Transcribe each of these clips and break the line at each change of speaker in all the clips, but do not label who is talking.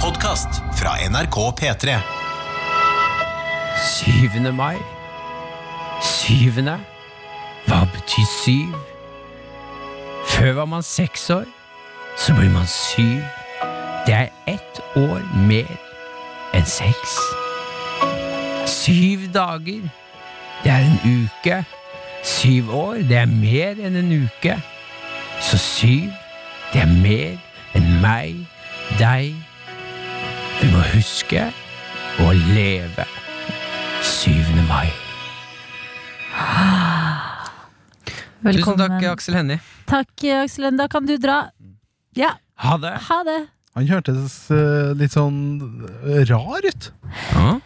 podkast fra NRK P3.
7. mai. Syvende. Hva betyr syv? Før var man seks år, så blir man syv. Det er ett år mer enn seks. Syv dager. Det er en uke. Syv år, det er mer enn en uke. Så syv, det er mer enn meg, deg. Vi må huske å leve. 7. mai.
Velkommen.
Tusen takk, Aksel Hennie.
Takk, Aksel Hennie. Da kan du dra. Ja,
Ha det.
ha det.
Han hørtes eh, litt sånn eh, rar ut.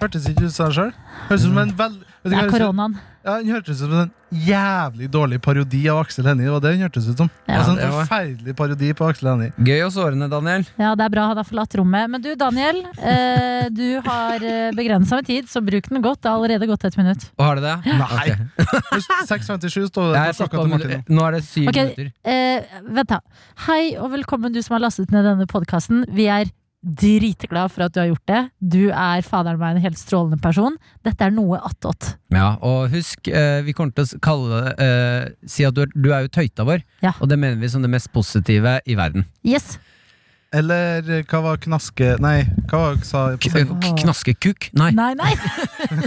Hørtes ikke ut som seg sjøl. Hørtes ut som en vel... Vet du
Det
hva
er
jeg synes?
koronaen.
Ja, han hørtes ut som en jævlig dårlig parodi av Aksel Hennie. Det var det han hørtes ut som.
Ja,
altså,
det
en
var-
forferdelig parodi på Aksel Hennie.
Gøy og sårende, Daniel.
Ja, det er bra han har forlatt rommet. Men du, Daniel. Eh, du har begrensa med tid, så bruk den godt. Det har allerede gått et minutt.
Og har det det?
Nei!
Ok.
6.57 står det
Jeg
på
satt
klokka
på
til Martin.
minu- Nå er det syv
Ok.
minutter.
Eh, vent, da. Hei og velkommen, du som har lastet ned denne podkasten. Vi er dritglad for at du har gjort det. Du er faderen meg en helt strålende person. Dette er noe attåt.
Ja, og husk, eh, vi kommer til å s- kalle det eh, Si at du er, du er jo tøyta vår,
Ja.
og det mener vi som det mest positive i verden.
Yes.
Eller eh, hva var knaske... Nei, hva var det sa
K
på
k- knaskekuk? Nei.
Nei, nei!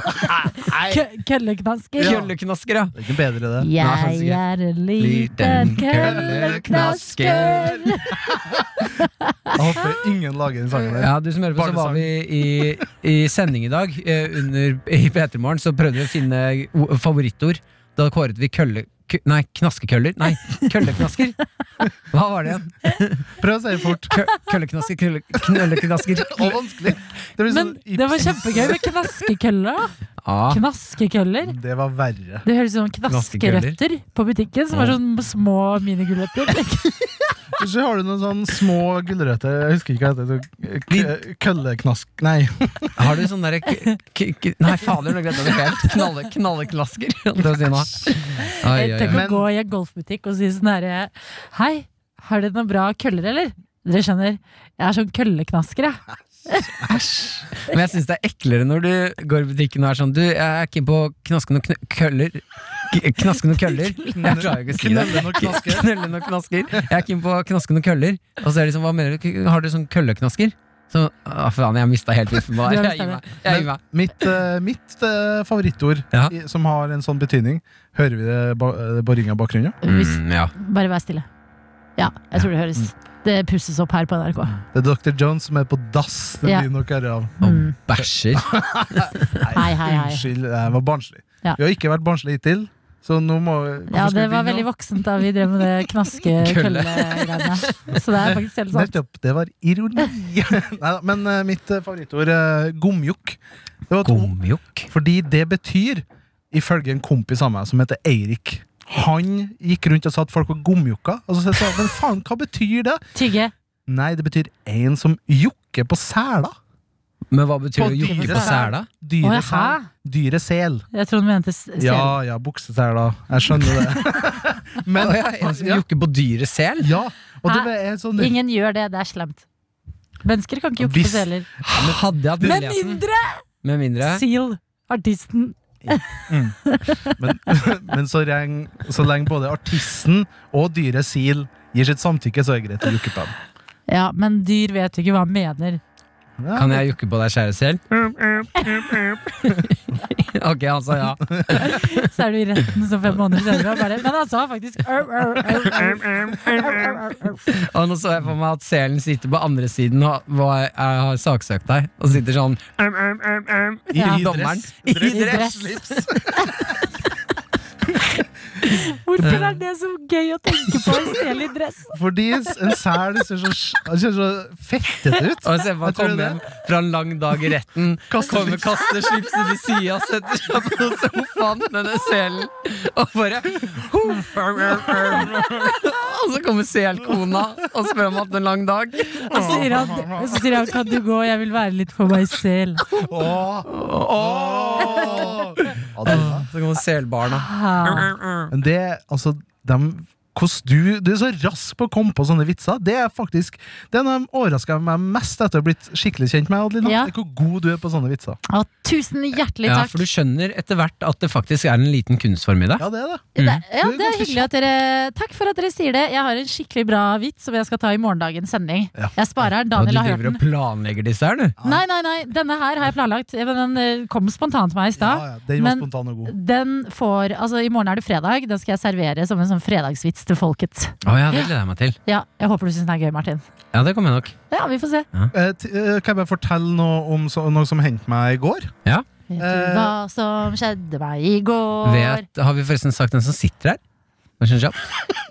Kø- Kølleknasker.
Kølleknasker, ja.
Det er ikke bedre, det.
Nei,
Jeg er en liten
Liten
kølleknasker.
kølleknasker.
Jeg håper ingen lager den sangen der.
Ja, du som hører på, så var vi i, i sending i dag. Eh, under, I P3 Morgen så prøvde vi å finne o- favorittord. Da kåret vi kølle... K nei, knaskekøller. Nei, kølleknasker. Hva var det igjen?
Prøv å si det fort.
Kø kølleknasker, kølle, knølleknasker.
Og vanskelig. Det blir
Men
sånn
det var kjempegøy med knaskekøller. da.
Ah,
Knaskekøller.
Det var verre.
Det høres ut som knaskerøtter på butikken, som er
Ja.
sånn små minigulrøtter.
Så har du noen sånne små gulrøtter. Jeg husker ikke hva det heter. K- Kølleknask Nei.
har du sånn derre k- k- k- Nei, fader, nå glemte jeg det helt. Knalle, knalleknasker. holdt jeg på å si nå. Ai, ai,
Tenk
ai.
å
Men-
gå i en golfbutikk og si sånn herre Hei, har dere noen bra køller, eller? Dere skjønner, jeg er sånn kølleknasker, jeg.
Men jeg syns det er eklere når du går i butikken og er sånn Du, jeg er keen på å knaske noen kn køller. K- Knaske noen køller. Jeg klarer ikke å si det.
Knølle og knaske.
Knølle noen knasker. Jeg er keen på å knaske noen køller. Og så er det liksom, hva mener du? K- Har du sånn kølleknasker? Så, å, faen, jeg mista helt viffen på
Du
det. Jeg
har
gir
mistet
meg. Jeg gir meg.
Mitt, eh, mitt eh, favorittord
Ja.
i, som har en sånn betydning Hører vi det ba- eh, boringa i bakgrunnen? ja?
Hvis,
Mm, ja.
bare vær stille. Ja, jeg tror det høres Det pusses opp her på NRK.
Det er Dr. Jones som er på dass. Det
Ja.
blir nok ære av.
Mm.
Bæsjer.
Hei, hei, hei.
Unnskyld, jeg var barnslig.
Ja.
Vi har ikke vært barnslige hittil, så nå må
Ja, det var veldig voksent da vi drev med det
Kølle.
knaske-kølle-greiene. Så det er faktisk helt sant.
Nettopp. Det var ironi. Neida, men eh, mitt eh, favorittord, uh, gomjokk. Det var et ord-
Gomjokk.
Fordi det betyr, ifølge en kompis av meg som heter Eirik Han gikk rundt og sa at folk var gomjokka. Og så sa jeg men faen, hva betyr det?
Tygge.
Nei, det betyr en som jokker på sæla.
Men hva betyr
På
å jokke
dyre
på
sel.
sela?
Å,
Dyre
hæ?
sel. Dyre sel.
Jeg tror hun mente s- sel.
Ja ja, buksesela. Jeg skjønner det. Men
Å, ja, en som
ja,
jokker på dyret sel?
ja, og det
Hæ?
er sånn
Ingen gjør det, det er slemt. Mennesker kan ikke jokke på
Hvis-
seler.
Hadde jeg hatt
Med
muligheten
mindre
Med mindre
Seal, artisten.
Men, men så, lenge, så lenge både artisten og dyret sil gir sitt samtykke, så er det greit å jokke på dem.
Ja, men dyr vet jo ikke hva han mener.
Ja,
Kan jeg jokke på deg, kjære sel? ok, han sa ja.
Så er du i retten så fem måneder senere. og Bare, men han sa faktisk au, au, au, au, au, au, au, au.
Og nå så jeg for meg at selen sitter på andre siden og var, jeg har saksøkt deg. Og sitter sånn
I,
Ja.
i
Dommeren.
dress.
I
I
dress.
dress. Hvorfor er det så gøy å tenke på en sel i dress?
Fordi en sel ser så, han ser så fettete ut.
Og jeg ser for meg
Jeg tror
komme
det.
hjem fra en lang dag i retten.
Kaster
Kommer,
slips.
kaster slipset til sida, setter seg på sofaen, denne selen, og bare «Huff, arm, arm, arm». Og så kommer selkona og spør om hatt en lang dag.
Og så sier han, og så sier han 'kan du gå, jeg vil være litt for meg selv'.
Åh. Åh. Ja, det er bra.
Så kommer selbarna.
Ha.
Men det, altså, de hvordan du, du er så rask på å komme på sånne vitser. Det er faktisk Det er noe som overrasker meg mest etter å ha blitt skikkelig kjent med Adelina.
Ja.
Det er Hvor god du er på sånne vitser.
Ja, tusen hjertelig
Ja,
takk.
for du skjønner etter hvert at det faktisk er en liten kunstform i det.
Ja, det er det.
Det,
Mm.
ja,
Du er
det er
ganske
hyggelig at dere Takk for at dere sier det. Jeg har en skikkelig bra vits som jeg skal ta i morgendagens sending.
Ja.
Jeg sparer den.
Og du
Daniel har hørt
driver og
den.
planlegger disse her, du.
Nei, nei, nei. Denne her har jeg planlagt. Eh, men Den eh, kom spontant til meg i
Ja,
stad.
ja, den var
Men-
spontan og god.
Den får Altså, i morgen er det fredag. Den skal jeg servere som en sånn fredagsvits til folket.
Å ja, det gleder jeg meg til.
Ja, Jeg håper du syns den er gøy, Martin.
Ja, det kommer jeg nok.
Ja, vi får se.
Eh, t eh, kan jeg bare fortelle noe om så, noe som hendte meg i går?
Vet
Eh.
du hva som skjedde meg i går?
Vet, har vi forresten sagt den som sitter her? Hva synes jeg?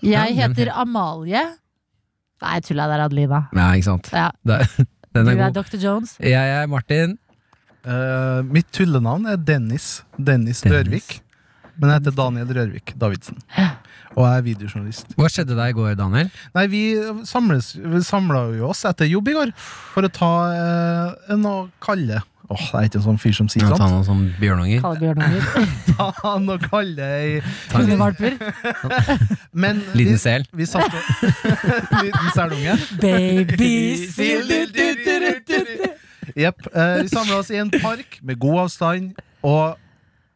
Jeg
Ja, den
heter Amalie. Nei, jeg tulla der, Adelina.
Nei, ikke sant.
Ja.
Da- Den er
Du er
god.
Dr. Jones.
Jeg er Martin.
Eh, mitt tullenavn er Dennis. Dennis
Dennis.
Rørvik. Men jeg heter Daniel Rørvik Davidsen. Og jeg er videojournalist.
Hva skjedde deg i går, Daniel?
Nei, vi samles Vi samla jo oss etter jobb i går for å ta eh, noe kalde. Åh, det er ikke en sånn fyr som sier
Ta
sånt.
noen som bjørnunger.
Kalle bjørnunger.
Ta noe kalde i
Ta en liten-
Hundevalper.
Men vi,
liten sel.
vi satt og Liten selunge.
Baby
Jepp. eh, vi samla oss i en park med god avstand, og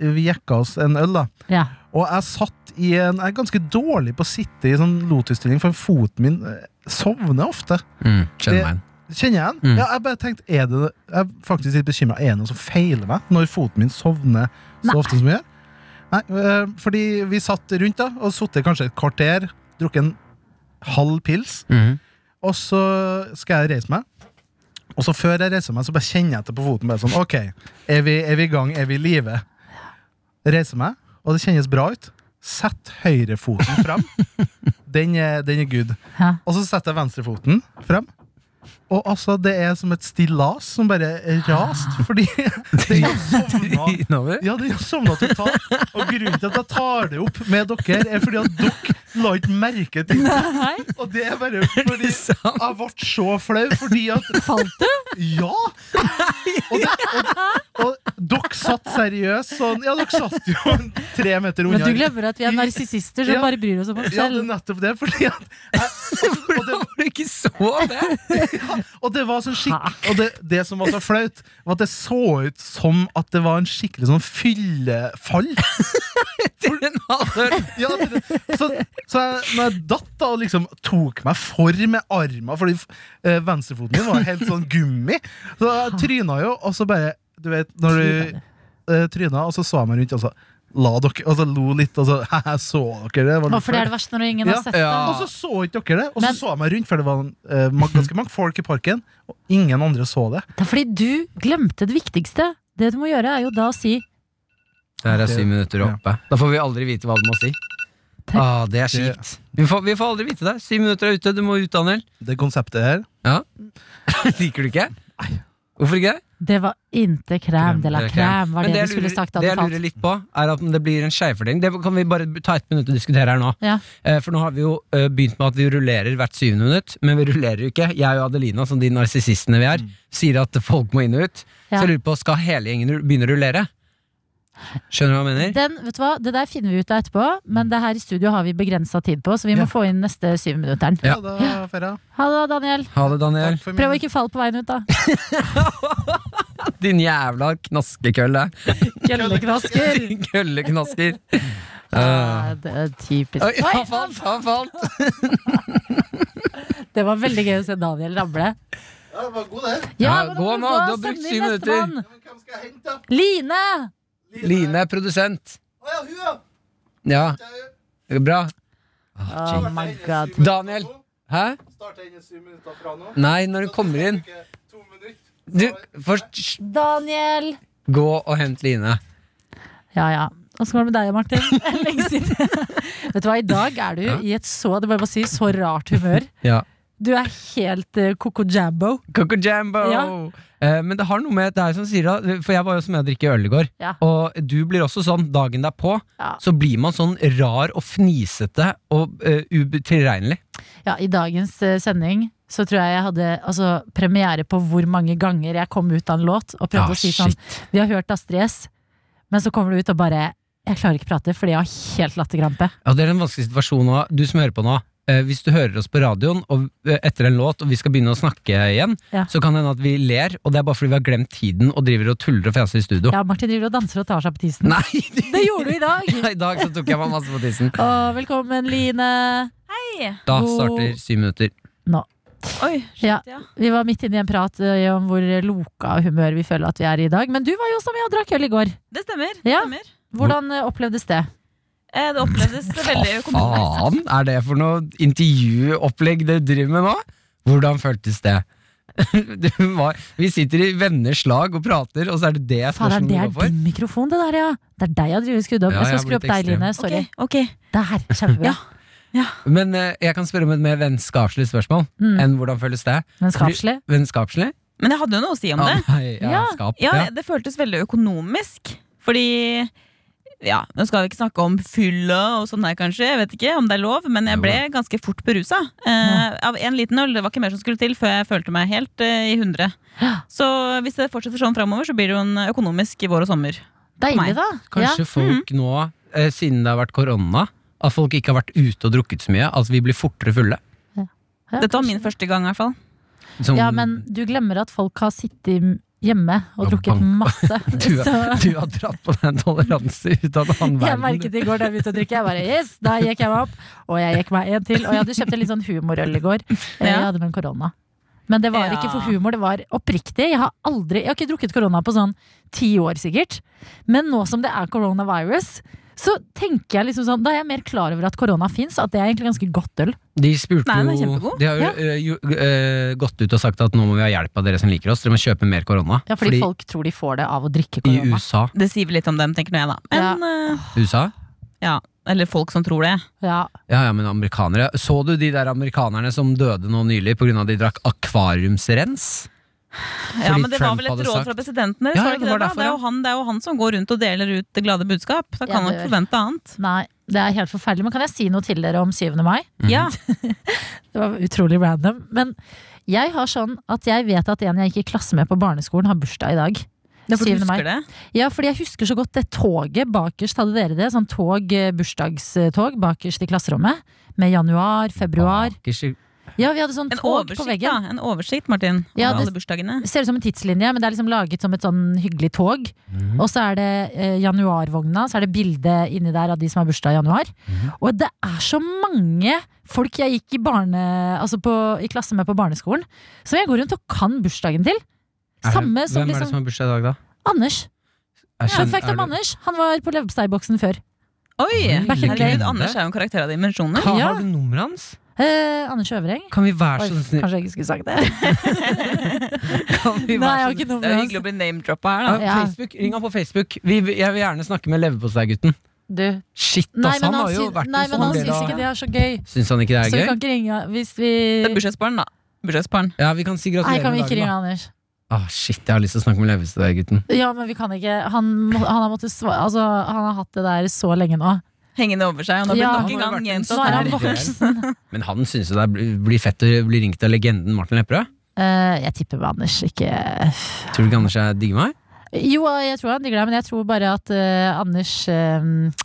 vi jekka oss en øl, da.
Ja.
Og jeg satt i en Jeg er ganske dårlig på å sitte i sånn lotusstilling, for foten min eh, sovner ofte.
Mm, skjønner meg.
Kjenner jeg den?
Mm.
Ja, jeg bare tenkte, er det Jeg er faktisk litt bekymra. Er det noe som feiler meg når foten min sovner så
Nei.
ofte som jeg gjør? Nei, eh, fordi vi satt rundt da og sittet kanskje et kvarter, drukket en halv pils,
Mm.
og så skal jeg reise meg. Og så før jeg reiser meg, så bare kjenner jeg etter på foten. Bare sånn, ok, er vi, er vi i gang? Er vi i live? Reiser meg, og det kjennes bra ut. Sett høyrefoten fram. Den er, den er good.
Ja.
Og så setter jeg venstrefoten frem. Og altså, det er som et stillas som bare rast, fordi den jo sovna
Innover.
ja, den har sovna totalt. Og grunnen til at jeg tar det opp med dere, er fordi at dere la ikke merke til det.
Nei,
Og det er bare fordi
sant?
jeg ble så flau, fordi at
falt du?
Ja! Og, det, og, og dere satt seriøst sånn Ja, dere satt jo tre meter
Men
unna.
du glemmer at vi er narsissister som
Ja.
bare bryr oss om oss
Ja, det er
selv.
nettopp det. Fordi at jeg, og, og, det,
Hvordan var det ikke så det?
og det var sånn skikk Og det, det som var så flaut, var at det så ut som at det var en skikkelig sånn fyllefall.
Den hadde
Eh, Ja, det- så, så jeg, når jeg datt da og liksom tok meg for med armen, fordi eh, venstrefoten min var helt sånn gummi, så jeg tryna jo, og så bare Du vet, når du eh, tryna, og så så jeg meg rundt, og så la dere Og så lo litt, og så Haha, så dere det?
Å,
Var litt
For det er
flaut.
det verste når ingen
Ja.
har sett det.
Ja.
og så så ikke dere det, og så
Men-
så jeg meg rundt, for det var eh, ma- ganske mange folk i parken, og ingen andre så det.
Det er fordi du glemte det viktigste. Det du må gjøre, er jo da å si
Der er syv minutter oppe. Da får vi aldri vite hva du må si. Ah, det er
Det-
kjipt. Vi får, vi får aldri vite det. Syv minutter er ute, du må ut, Daniel.
Det konseptet her
Liker du ikke? Hvorfor ikke?
Det var inte crème de la
Det er
crème, var
Men
det,
jeg
du skulle
lurer-
sagt da
Det
du
jeg
falt.
lurer litt på, er at det blir en skjevfordeling. Det kan vi bare ta ett minutt og diskutere her nå.
Ja.
Eh, For nå har vi jo eh, begynt med at vi rullerer hvert syvende minutt, men vi rullerer jo ikke. Jeg og Adelina, som de narsissistene vi er, sier at folk må inn og ut.
Ja.
Så jeg lurer på, skal hele gjengen ru- begynne å rullere? Skjønner du hva jeg mener?
Den, vet du hva? Det der finner vi ut av etterpå, men det her i studio har vi begrensa tid på, så vi må
Ja.
få inn neste syvminutteren.
Ja.
Ja, da, Ferra.
Ha det, da, Daniel.
Ha det, Daniel.
Takk for
Prøv å
min-
ikke falle på veien ut, da.
Din jævla knaskekølle.
Gjelleknasker.
Din kølleknasker.
Ja, det er typisk.
Oi,
Oi,
han falt, han falt!
det var veldig gøy å se Daniel ramle.
Ja, det var god, det.
Ja,
men
gå
må
nå, du har brukt
send
syv
inn
minutter.
nestemann.
Men hvem skal jeg hente, da?
Line!
Line er produsent.
Å ja, hun, ja!
Ja, bra.
Oh my god.
Daniel! Hæ?
Starte inn i syv minutter fra nå.
Nei, når hun kommer inn Du, først
Daniel!
gå og hent Line.
Ja, ja. Åssen går det med deg, Martin? Lenge siden. Vet du hva, i dag er du
Ja.
i et så det må jeg bare si, så rart humør.
Ja.
Du er helt uh, coco jambo.
Coco Jambo!
Ja.
Eh, men det har noe med det er som sier da, For jeg var jo som jeg drikker øl i går.
Ja.
Og du blir også sånn dagen derpå.
Ja.
Så blir man sånn rar og fnisete og uh, utilregnelig.
Ja, I dagens eh, sending så tror jeg jeg hadde altså, premiere på hvor mange ganger jeg kom ut av en låt og prøvde
Ah,
å si sånn Vi har hørt Astrid S, men så kommer du ut og bare Jeg klarer ikke prate fordi jeg har helt latterkrampe.
Ja, det er en vanskelig situasjon nå. Du som hører på nå. eh, hvis du hører oss på radioen og, eh, etter en låt, og vi skal begynne å snakke igjen,
Ja.
så kan det hende at vi ler, og det er bare fordi vi har glemt tiden og driver og tuller og fjaser i studio.
Ja, Martin driver og danser og tar seg på tissen.
Nei!
Det gjorde du i dag!
I dag så tok jeg meg masse på tissen.
Og velkommen, Line.
Da
God-
starter syv minutter.
Oi, shit,
Ja.
ja.
Vi var midt inne i en prat eh, om hvor loka humør vi føler at vi er i i dag. Men du var jo også med og drakk øl i går.
Det stemmer. Det,
Ja.
stemmer.
Hvordan eh, opplevdes det?
Eh, det opplevdes veldig økonomisk.
faen
sånn.
er det for noe intervjuopplegg dere driver med nå? Hvordan føltes det? det var, vi sitter i venners lag og prater, og så er det det
Fader,
spørsmålet
det
du
er
går for?
din mikrofon, det der, ja. Det er deg jeg driver og skrudde opp.
Ja,
jeg
jeg
skal
har
skru opp
blitt
deg,
ekstrem.
Line.
Ok,
Sorry.
ok.
Der. Kjempebra.
Ja.
Men eh, jeg kan spørre om et mer vennskapslig spørsmål
Mm.
enn hvordan føles det?
Vennskapslig.
Vennskapslig?
Men jeg hadde jo noe å si om det.
Ah, nei, ja,
Ja.
skap,
Ja,
ja.
Det føltes veldig økonomisk. Fordi ja, Nå skal vi ikke snakke om fylla og sånn her, kanskje. Jeg vet ikke om det er lov, men jeg ble ganske fort berusa. Eh, av en liten øl. Det var ikke mer som skulle til før jeg følte meg helt eh, i hundre. Så hvis det fortsetter sånn framover, så blir det jo en økonomisk vår og sommer.
Deilig,
meg.
da. Ja.
Kanskje folk
mhm.
nå, eh, siden det har vært korona, at folk ikke har vært ute og drukket så mye, at vi blir fortere fulle?
Ja,
Dette var
kanskje.
min første gang, i hvert fall.
Sånn-
Ja, men du glemmer at folk har sittet hjemme og
Og
drukket
banka.
masse.
Du
Så
Du har dratt på den toleranse ut av den
jeg
verden.
merket i går da jeg begynte å drikke. Jeg bare yes, da gikk jeg meg opp. Og jeg gikk meg en til. Og jeg hadde kjøpt en litt sånn humorøl i går. Eh, Jeg
Ja.
hadde med en korona. Men det var
Ja.
ikke for humor, det var oppriktig. Jeg har aldri, jeg har ikke drukket korona på sånn ti år sikkert. Men nå som det er coronavirus, så tenker jeg liksom sånn, da er jeg mer klar over at korona fins, og at det er egentlig ganske godt øl.
De spurte
Nei, den er
jo
kjempegod.
De har jo,
Ja.
eh, jo eh, gått ut og sagt at nå må vi ha hjelp av dere som liker oss. Dere må kjøpe mer korona.
Ja, fordi, folk tror de får det av å drikke
i
korona.
USA,
Det sier vel litt om dem, tenker nå jeg, da. Men, eh,
USA
ja, eller folk som tror det.
Ja,
ja, ja, men amerikanere Så du de der amerikanerne som døde nå nylig pga. de drakk akvariumsrens?
Ja,
Fordi
men Det var
Trump
vel et
hadde
råd
sagt-
fra presidenten deres?
Ja,
var
ja,
det, ikke
det var
det, da?
derfor,
det,
ja.
er jo han, det er jo han som går rundt og deler ut det glade budskap. Da
Ja,
kan
det
man ikke
gjør.
forvente annet.
nei, det er helt forferdelig. Men kan jeg si noe til dere om 7. mai?
Mhm.
Ja,
Det var utrolig random. Men jeg har sånn at jeg vet at en jeg gikk i klasse med på barneskolen, har bursdag i dag.
det er fordi
7.
du
mai.
husker det.
Ja, fordi jeg husker så godt det toget bakerst. Hadde dere det? Sånn tog, eh, bursdagstog bakerst i klasserommet. Med januar, februar.
Bakerst i-
Ja, vi hadde sånn
En
tog på
oversikt, da.
veggen.
En oversikt, Martin.
Ja,
over
det-
alle bursdagene.
Det ser ut som en tidslinje, men det er liksom laget som et sånn hyggelig tog.
Mhm.
Og så er det eh, januarvogna, så er det bilde inni der av de som har bursdag i januar.
Mhm.
Og det er så mange folk jeg gikk i, barne, altså på, i klasse med på barneskolen, som jeg går rundt og kan bursdagen til.
Er det-
Samme
Hvem
som
er det som
liksom
har bursdag i dag, da?
Anders.
Jeg
Fun
kjenner-
fact
er
om
det-
Anders. Han var på leverposteiboksen før.
Oi!
herregud.
Herregud, Anders er jo en karakter av dimensjoner.
Hva,
Ja.
Har du nummeret hans?
Eh, Anders Øvreng.
Kan vi være
Oi,
så snill
kanskje jeg ikke skulle sagt det.
kan vi
Nei, jeg
være
har
så snill-
ikke
Det er
nummeret
jo
hans.
hyggelig å bli name-droppa her,
Ja,
da.
Ja.
Facebook, Ring han på Facebook. Vi, jeg vil gjerne snakke med leverposteigutten.
Du.
Shit,
Nei,
ass! Han
men han,
har jo
syn-
vært
nei,
en
men
stor
han
del
syns
av
ikke det er så gøy.
Syns han ikke det
Så vi
er gøy?
kan ikke ringe hvis vi
Det er bursdagsbarn, da. Bursdagsbarn.
Ja, vi kan si
Nei,
gratulerer
kan vi
med
ikke
dagen,
ringe
da.
Anders?
Ah, shit, jeg har lyst til å snakke med leverposteigutten.
Ja, men vi kan ikke. Han, må- han har måttet svare Altså, han har hatt det der så lenge nå.
Hengende over seg. Og nå blir
Ja.
det
Han har
nok en
jo
gang
vært en
Nå
gjentatt
er
her.
han
det er det.
voksen.
Men han syns jo det blir- blir fett å bli ringt av legenden Martin Lepperød.
Eh, jeg tipper med Anders, ikke
Tror du ikke Anders er digger meg?
Jo, jeg tror han digger deg, men jeg tror bare at eh, Anders eh,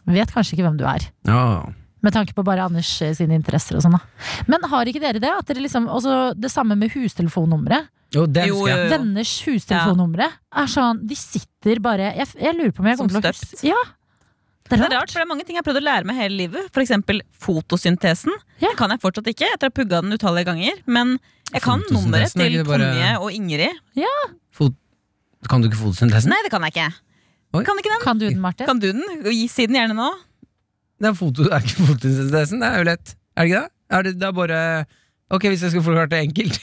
vet kanskje ikke hvem du er.
Ja.
Med tanke på bare Anders eh, sine interesser og sånn, da. Men har ikke dere det? At dere liksom, også det samme med hustelefonnummeret.
Jo, det
Jo,
husker jeg.
jo, jo.
Venners hustelefonnumre er sånn De sitter bare Jeg, jeg lurer på om jeg
Som
kommer til å
støpt.
huske Ja, det er
Det
rart.
er rart, for det er mange ting jeg har prøvd å lære meg hele livet. For eksempel fotosyntesen.
Ja.
Kan jeg fortsatt ikke, etter å ha pugga den utallige ganger. Men jeg kan
Fotosyntesen,
nummeret
er
til
ikke det bare-
Tonje og Ingrid.
eh, Kan du ikke fotosyntesen?
Nei, det kan jeg ikke.
Oi.
Kan ikke den?
Kan du den, Martin?
Kan du den? Gi- Si den gjerne nå.
Det er, foto, det er ikke fotosyntesen, det er jo lett. Er det ikke det? Er det, det er bare Ok, hvis jeg skulle forklart det enkelt,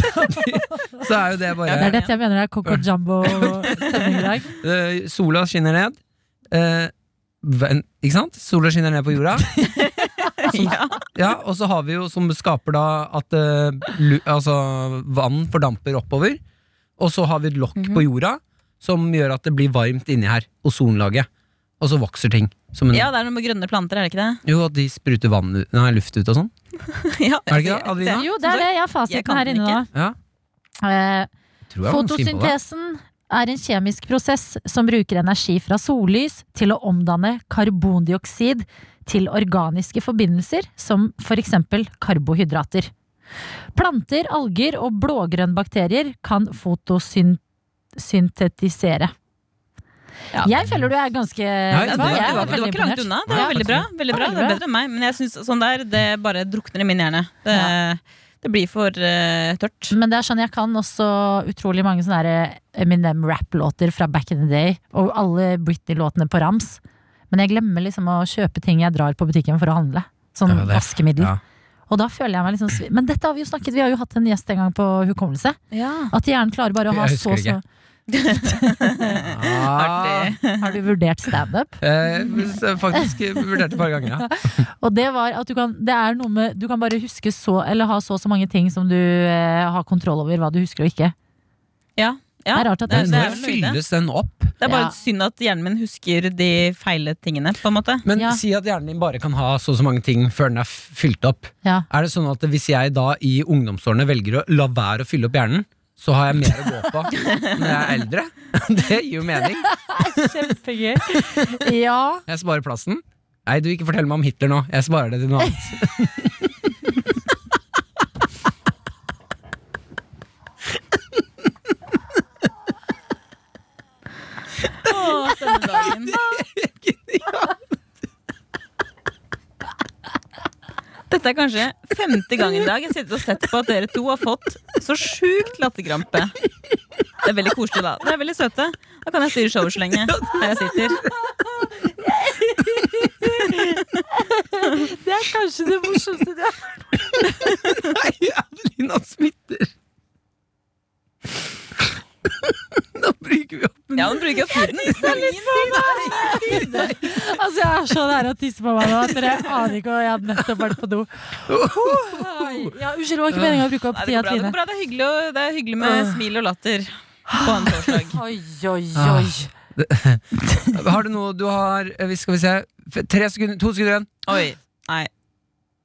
så er jo det
Ja,
Det
bare
er dette jeg mener det er Coco Jumbo-stemning i dag.
eh, Sola skinner ned. Eh, ven- ikke sant? Sola skinner ned på jorda.
Ja.
Ja, og så har vi jo som skaper da at eh, lu, altså, vann fordamper oppover. Og så har vi et lokk
Mhm.
på jorda som gjør at det blir varmt inni her. Ozonlaget. Og så vokser ting. Som en,
ja, det er noe med grønne planter, er det ikke det?
Jo, at de spruter vann, ut- nei, luft ut og sånn.
Ja,
Er det ikke det, Adelina?
Se.
Jo, det er det. Jeg har
Jeg
fasiten
kan
her
den
inne nå.
Ja,
Eh,
tror jeg var ganske innpå det.
fotosyntesen er en kjemisk prosess som bruker energi fra sollys til å omdanne karbondioksid til organiske forbindelser, som f.eks. karbohydrater. Planter, alger og blågrønnbakterier kan fotosyntetisere.
Ja.
Jeg føler du er ganske
Ja,
Vet
du,
hva,
var,
jeg
du,
er
var, du var
veldig
ikke langt
imponert.
unna. Det var
Ja.
veldig bra. veldig bra,
Ja,
Det er
veldig
bedre enn meg. Men jeg synes sånn der, det bare drukner i min hjerne. Det, det blir for eh, tørt.
Men det er sånn, jeg kan også utrolig mange sånne der Eminem-rap-låter fra back in the day. Og alle Britney-låtene på rams. Men jeg glemmer liksom å kjøpe ting jeg drar på butikken for å handle. Sånn
Ja, det-
vaskemiddel.
Ja.
Og da føler jeg meg liksom svi- Men dette har vi jo snakket, vi har jo hatt en gjest en gang på hukommelse.
Ja.
At hjernen klarer bare å ha
Jeg
så
husker
så
ikke. Ah,
Artig.
Har du vurdert standup?
eh, faktisk vurderte et par ganger, ja.
Og det var at du kan Det er noe med Du kan bare huske så Eller ha så og så mange ting som du eh, har kontroll over hva du husker og ikke.
Ja. ja.
Det er rart at
det,
Men
det, er
når
vel mye det.
fylles den opp?
det er bare
Ja.
synd at hjernen min husker de feile tingene, på en måte.
Men
Ja.
si at hjernen din bare kan ha så og så mange ting før den er f- fylt opp.
Ja.
Er det sånn at hvis jeg da i ungdomsårene velger å la være å fylle opp hjernen, så har jeg mer å gå på når jeg er eldre? Det gir jo mening.
Kjempegøy. ja.
Jeg sparer plassen. Nei, du ikke fortell meg om Hitler nå. Jeg sparer det til noe annet.
Åh, denne dagen. Dette er kanskje femte gang i dag jeg sitter og sett på at dere to har fått så sjukt latterkrampe. Det er veldig koselig, da. Dere er veldig søte. Da kan jeg styre showet så lenge. Der jeg sitter.
Det er kanskje det morsomste du har
Nei, Adelina smitter. Nå bruker vi opp
Ja, hun bruker foden.
Altså, jeg er så nær å tisse på meg nå at dere aner ikke hva jeg hadde nettopp vært på do. Oi. Ja, unnskyld, det var ikke meningen å bruke opp
Nei, det
tida,
går bra. Det,
Trine.
går bra. det, er hyggelig, å- det er hyggelig med smil og latter på en torsdag.
Oi, oi, oi.
Har du noe du har eh, vi- Skal vi se. F- Tre sekunder, to sekunder igjen.
Oi. Nei.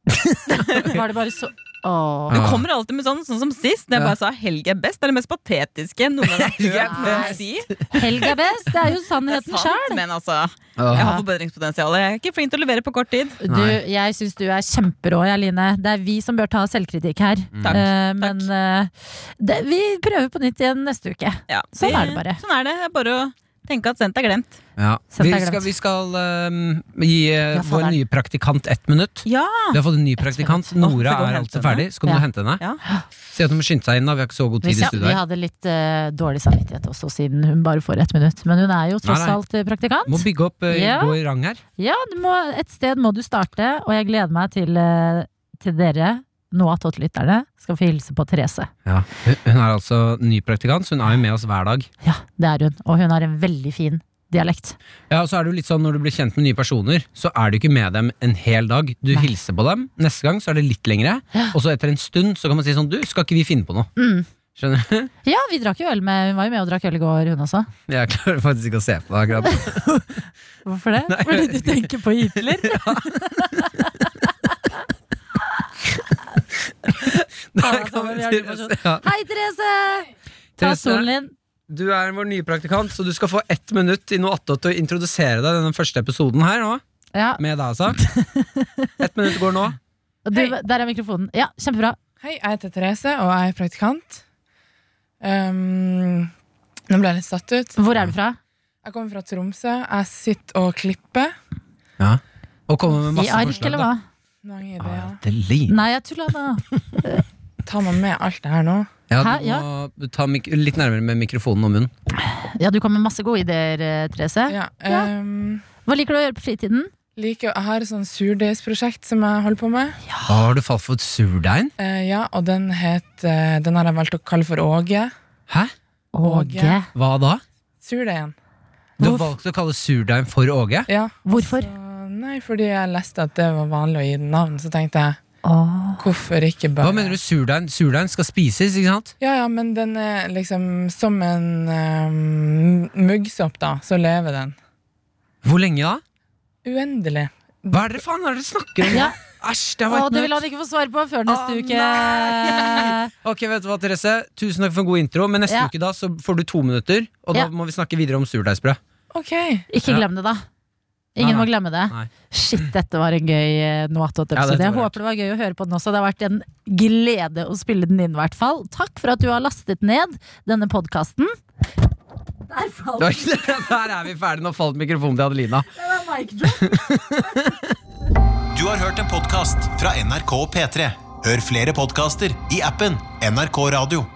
Var det bare så Åh.
Du
Ah.
kommer alltid med sånn, sånn som sist. Da jeg
Ja.
bare sa helg er best. Det er det mest patetiske jeg noen gang har
Helg er
hørt noen
best.
si.
Helg er best, det er jo
Det er
sannheten
sant,
sjøl.
men altså Jeg har forbedringspotensial. Jeg er ikke flink til å levere på kort tid.
Du, jeg syns du er kjemperå, jeg, Line. Det er vi som bør ta selvkritikk her.
Mm.
Takk,
Eh,
takk.
men eh, det, vi prøver på nytt igjen neste uke.
Ja,
Sånn er det bare.
Sånn er det. det er bare å tenke at sendt er glemt.
Ja.
Sett
Vi
deg glemt.
skal, vi skal ehm, gi eh,
Ja,
vår
faen er det.
nye praktikant ett minutt.
Ja!
Vi har fått en ny praktikant.
minutt. Å,
Nora
så kan du
er
hente
altså
henne.
ferdig. Så kan
Ja.
du hente henne.
Ja.
Si at hun må skynde seg inn. da Vi har ikke så god
Vi,
tid i
sa-
studio
vi
her.
hadde litt eh, dårlig samvittighet også, siden hun bare får ett minutt. Men hun er jo tross
Nei, nei.
alt eh, praktikant.
Må bygge opp, eh,
Ja.
gå i rang her.
Ja, du må, et sted må du starte, og jeg gleder meg til, eh, til dere, nå attåt-lytterne, skal få hilse på Therese.
Ja. Hun hun er altså ny praktikant, så hun er jo med oss hver dag.
Ja, det er hun, og hun har en veldig fin dialekt.
Ja, og så er det jo litt sånn Når du blir kjent med nye personer, så er du ikke med dem en hel dag. Du
Nei.
hilser på dem. Neste gang så er det litt lengre.
Ja.
Og så etter en stund så kan man si sånn Du, skal ikke vi finne på noe?
Mm.
Skjønner du?
Ja, vi drakk jo øl med, hun var jo med og drakk øl i går, hun også.
Jeg klarer faktisk ikke å se på det akkurat.
Hvorfor det?
Nei, jeg
Fordi du
vet
tenker på Hitler?
Der
altså,
kommer
vi har ny
Therese.
person.
Ja.
Hei, Therese! Ta
Therese,
stolen din.
Du er vår nye praktikant, så du skal få ett minutt i noe attåt til å introdusere deg i denne første episoden her nå.
Ja,
Med deg, altså. Ett minutt går nå.
og du, der er mikrofonen. Ja, kjempebra.
Hei, jeg heter Therese, og jeg er praktikant. Um, nå ble jeg litt satt ut.
Hvor er du fra?
Jeg kommer fra Tromsø. Jeg sitter og klipper.
Og komme med
I
masse
ark, eller hva?
Mange
da.
ideer.
Adeline.
Nei, jeg tulla da.
Tar man med alt det her nå?
Ja,
Hæ?
du må ta mik litt nærmere med mikrofonen og munnen.
Ja, du kom med masse gode ideer, eh, Therese.
Ja. Um,
Hva liker du å gjøre på fritiden?
liker, jeg har et sånt surdeigsprosjekt som jeg holder på med.
Ah.
Har du falt for surdeigen?
Eh, ja, og den, het, eh, den har jeg valgt å kalle for Åge.
Hæ?
Åge.
Hva da?
Surdeigen.
Du har
Hvorf-
valgt å kalle surdeigen for Åge?
Ja.
Hvorfor?
Så, nei, fordi jeg leste at det var vanlig å gi den navn, så tenkte jeg
Åh.
hvorfor ikke bare
Hva mener du surdeigen? Surdeigen skal spises, ikke sant?
Ja, ja, men den er liksom som en um, muggsopp, da. Så lever den.
Hvor lenge da?
Uendelig.
Hva er det faen er det dere snakker om?
Ja,
Æsj, det
Og
var
det
et
vil han
nøtt.
ikke få svar på før neste
Å,
uke.
nei. Ok, vet du hva, Therese? Tusen takk for en god intro, men neste
Ja.
uke da så får du to minutter, og da
Ja.
må vi snakke videre om surdeigsbrød.
Ok.
Ikke
Ja.
glem det, da. Ingen
Nei, nei.
må glemme det.
Nei.
Shit, dette var en gøy
Ja,
eh, Noatot-episode.
dette
jeg
var
håper det var gøy å høre på den også. Det har vært en glede å spille den inn, i hvert fall. Takk for at du har lastet ned denne podkasten. Der falt
Det var ikke det. Der er vi ferdige. Nå falt mikrofonen til Adelina.
det var mic drop.
Du har hørt en podcast fra NRK P3. Hør flere podcaster i appen NRK Radio.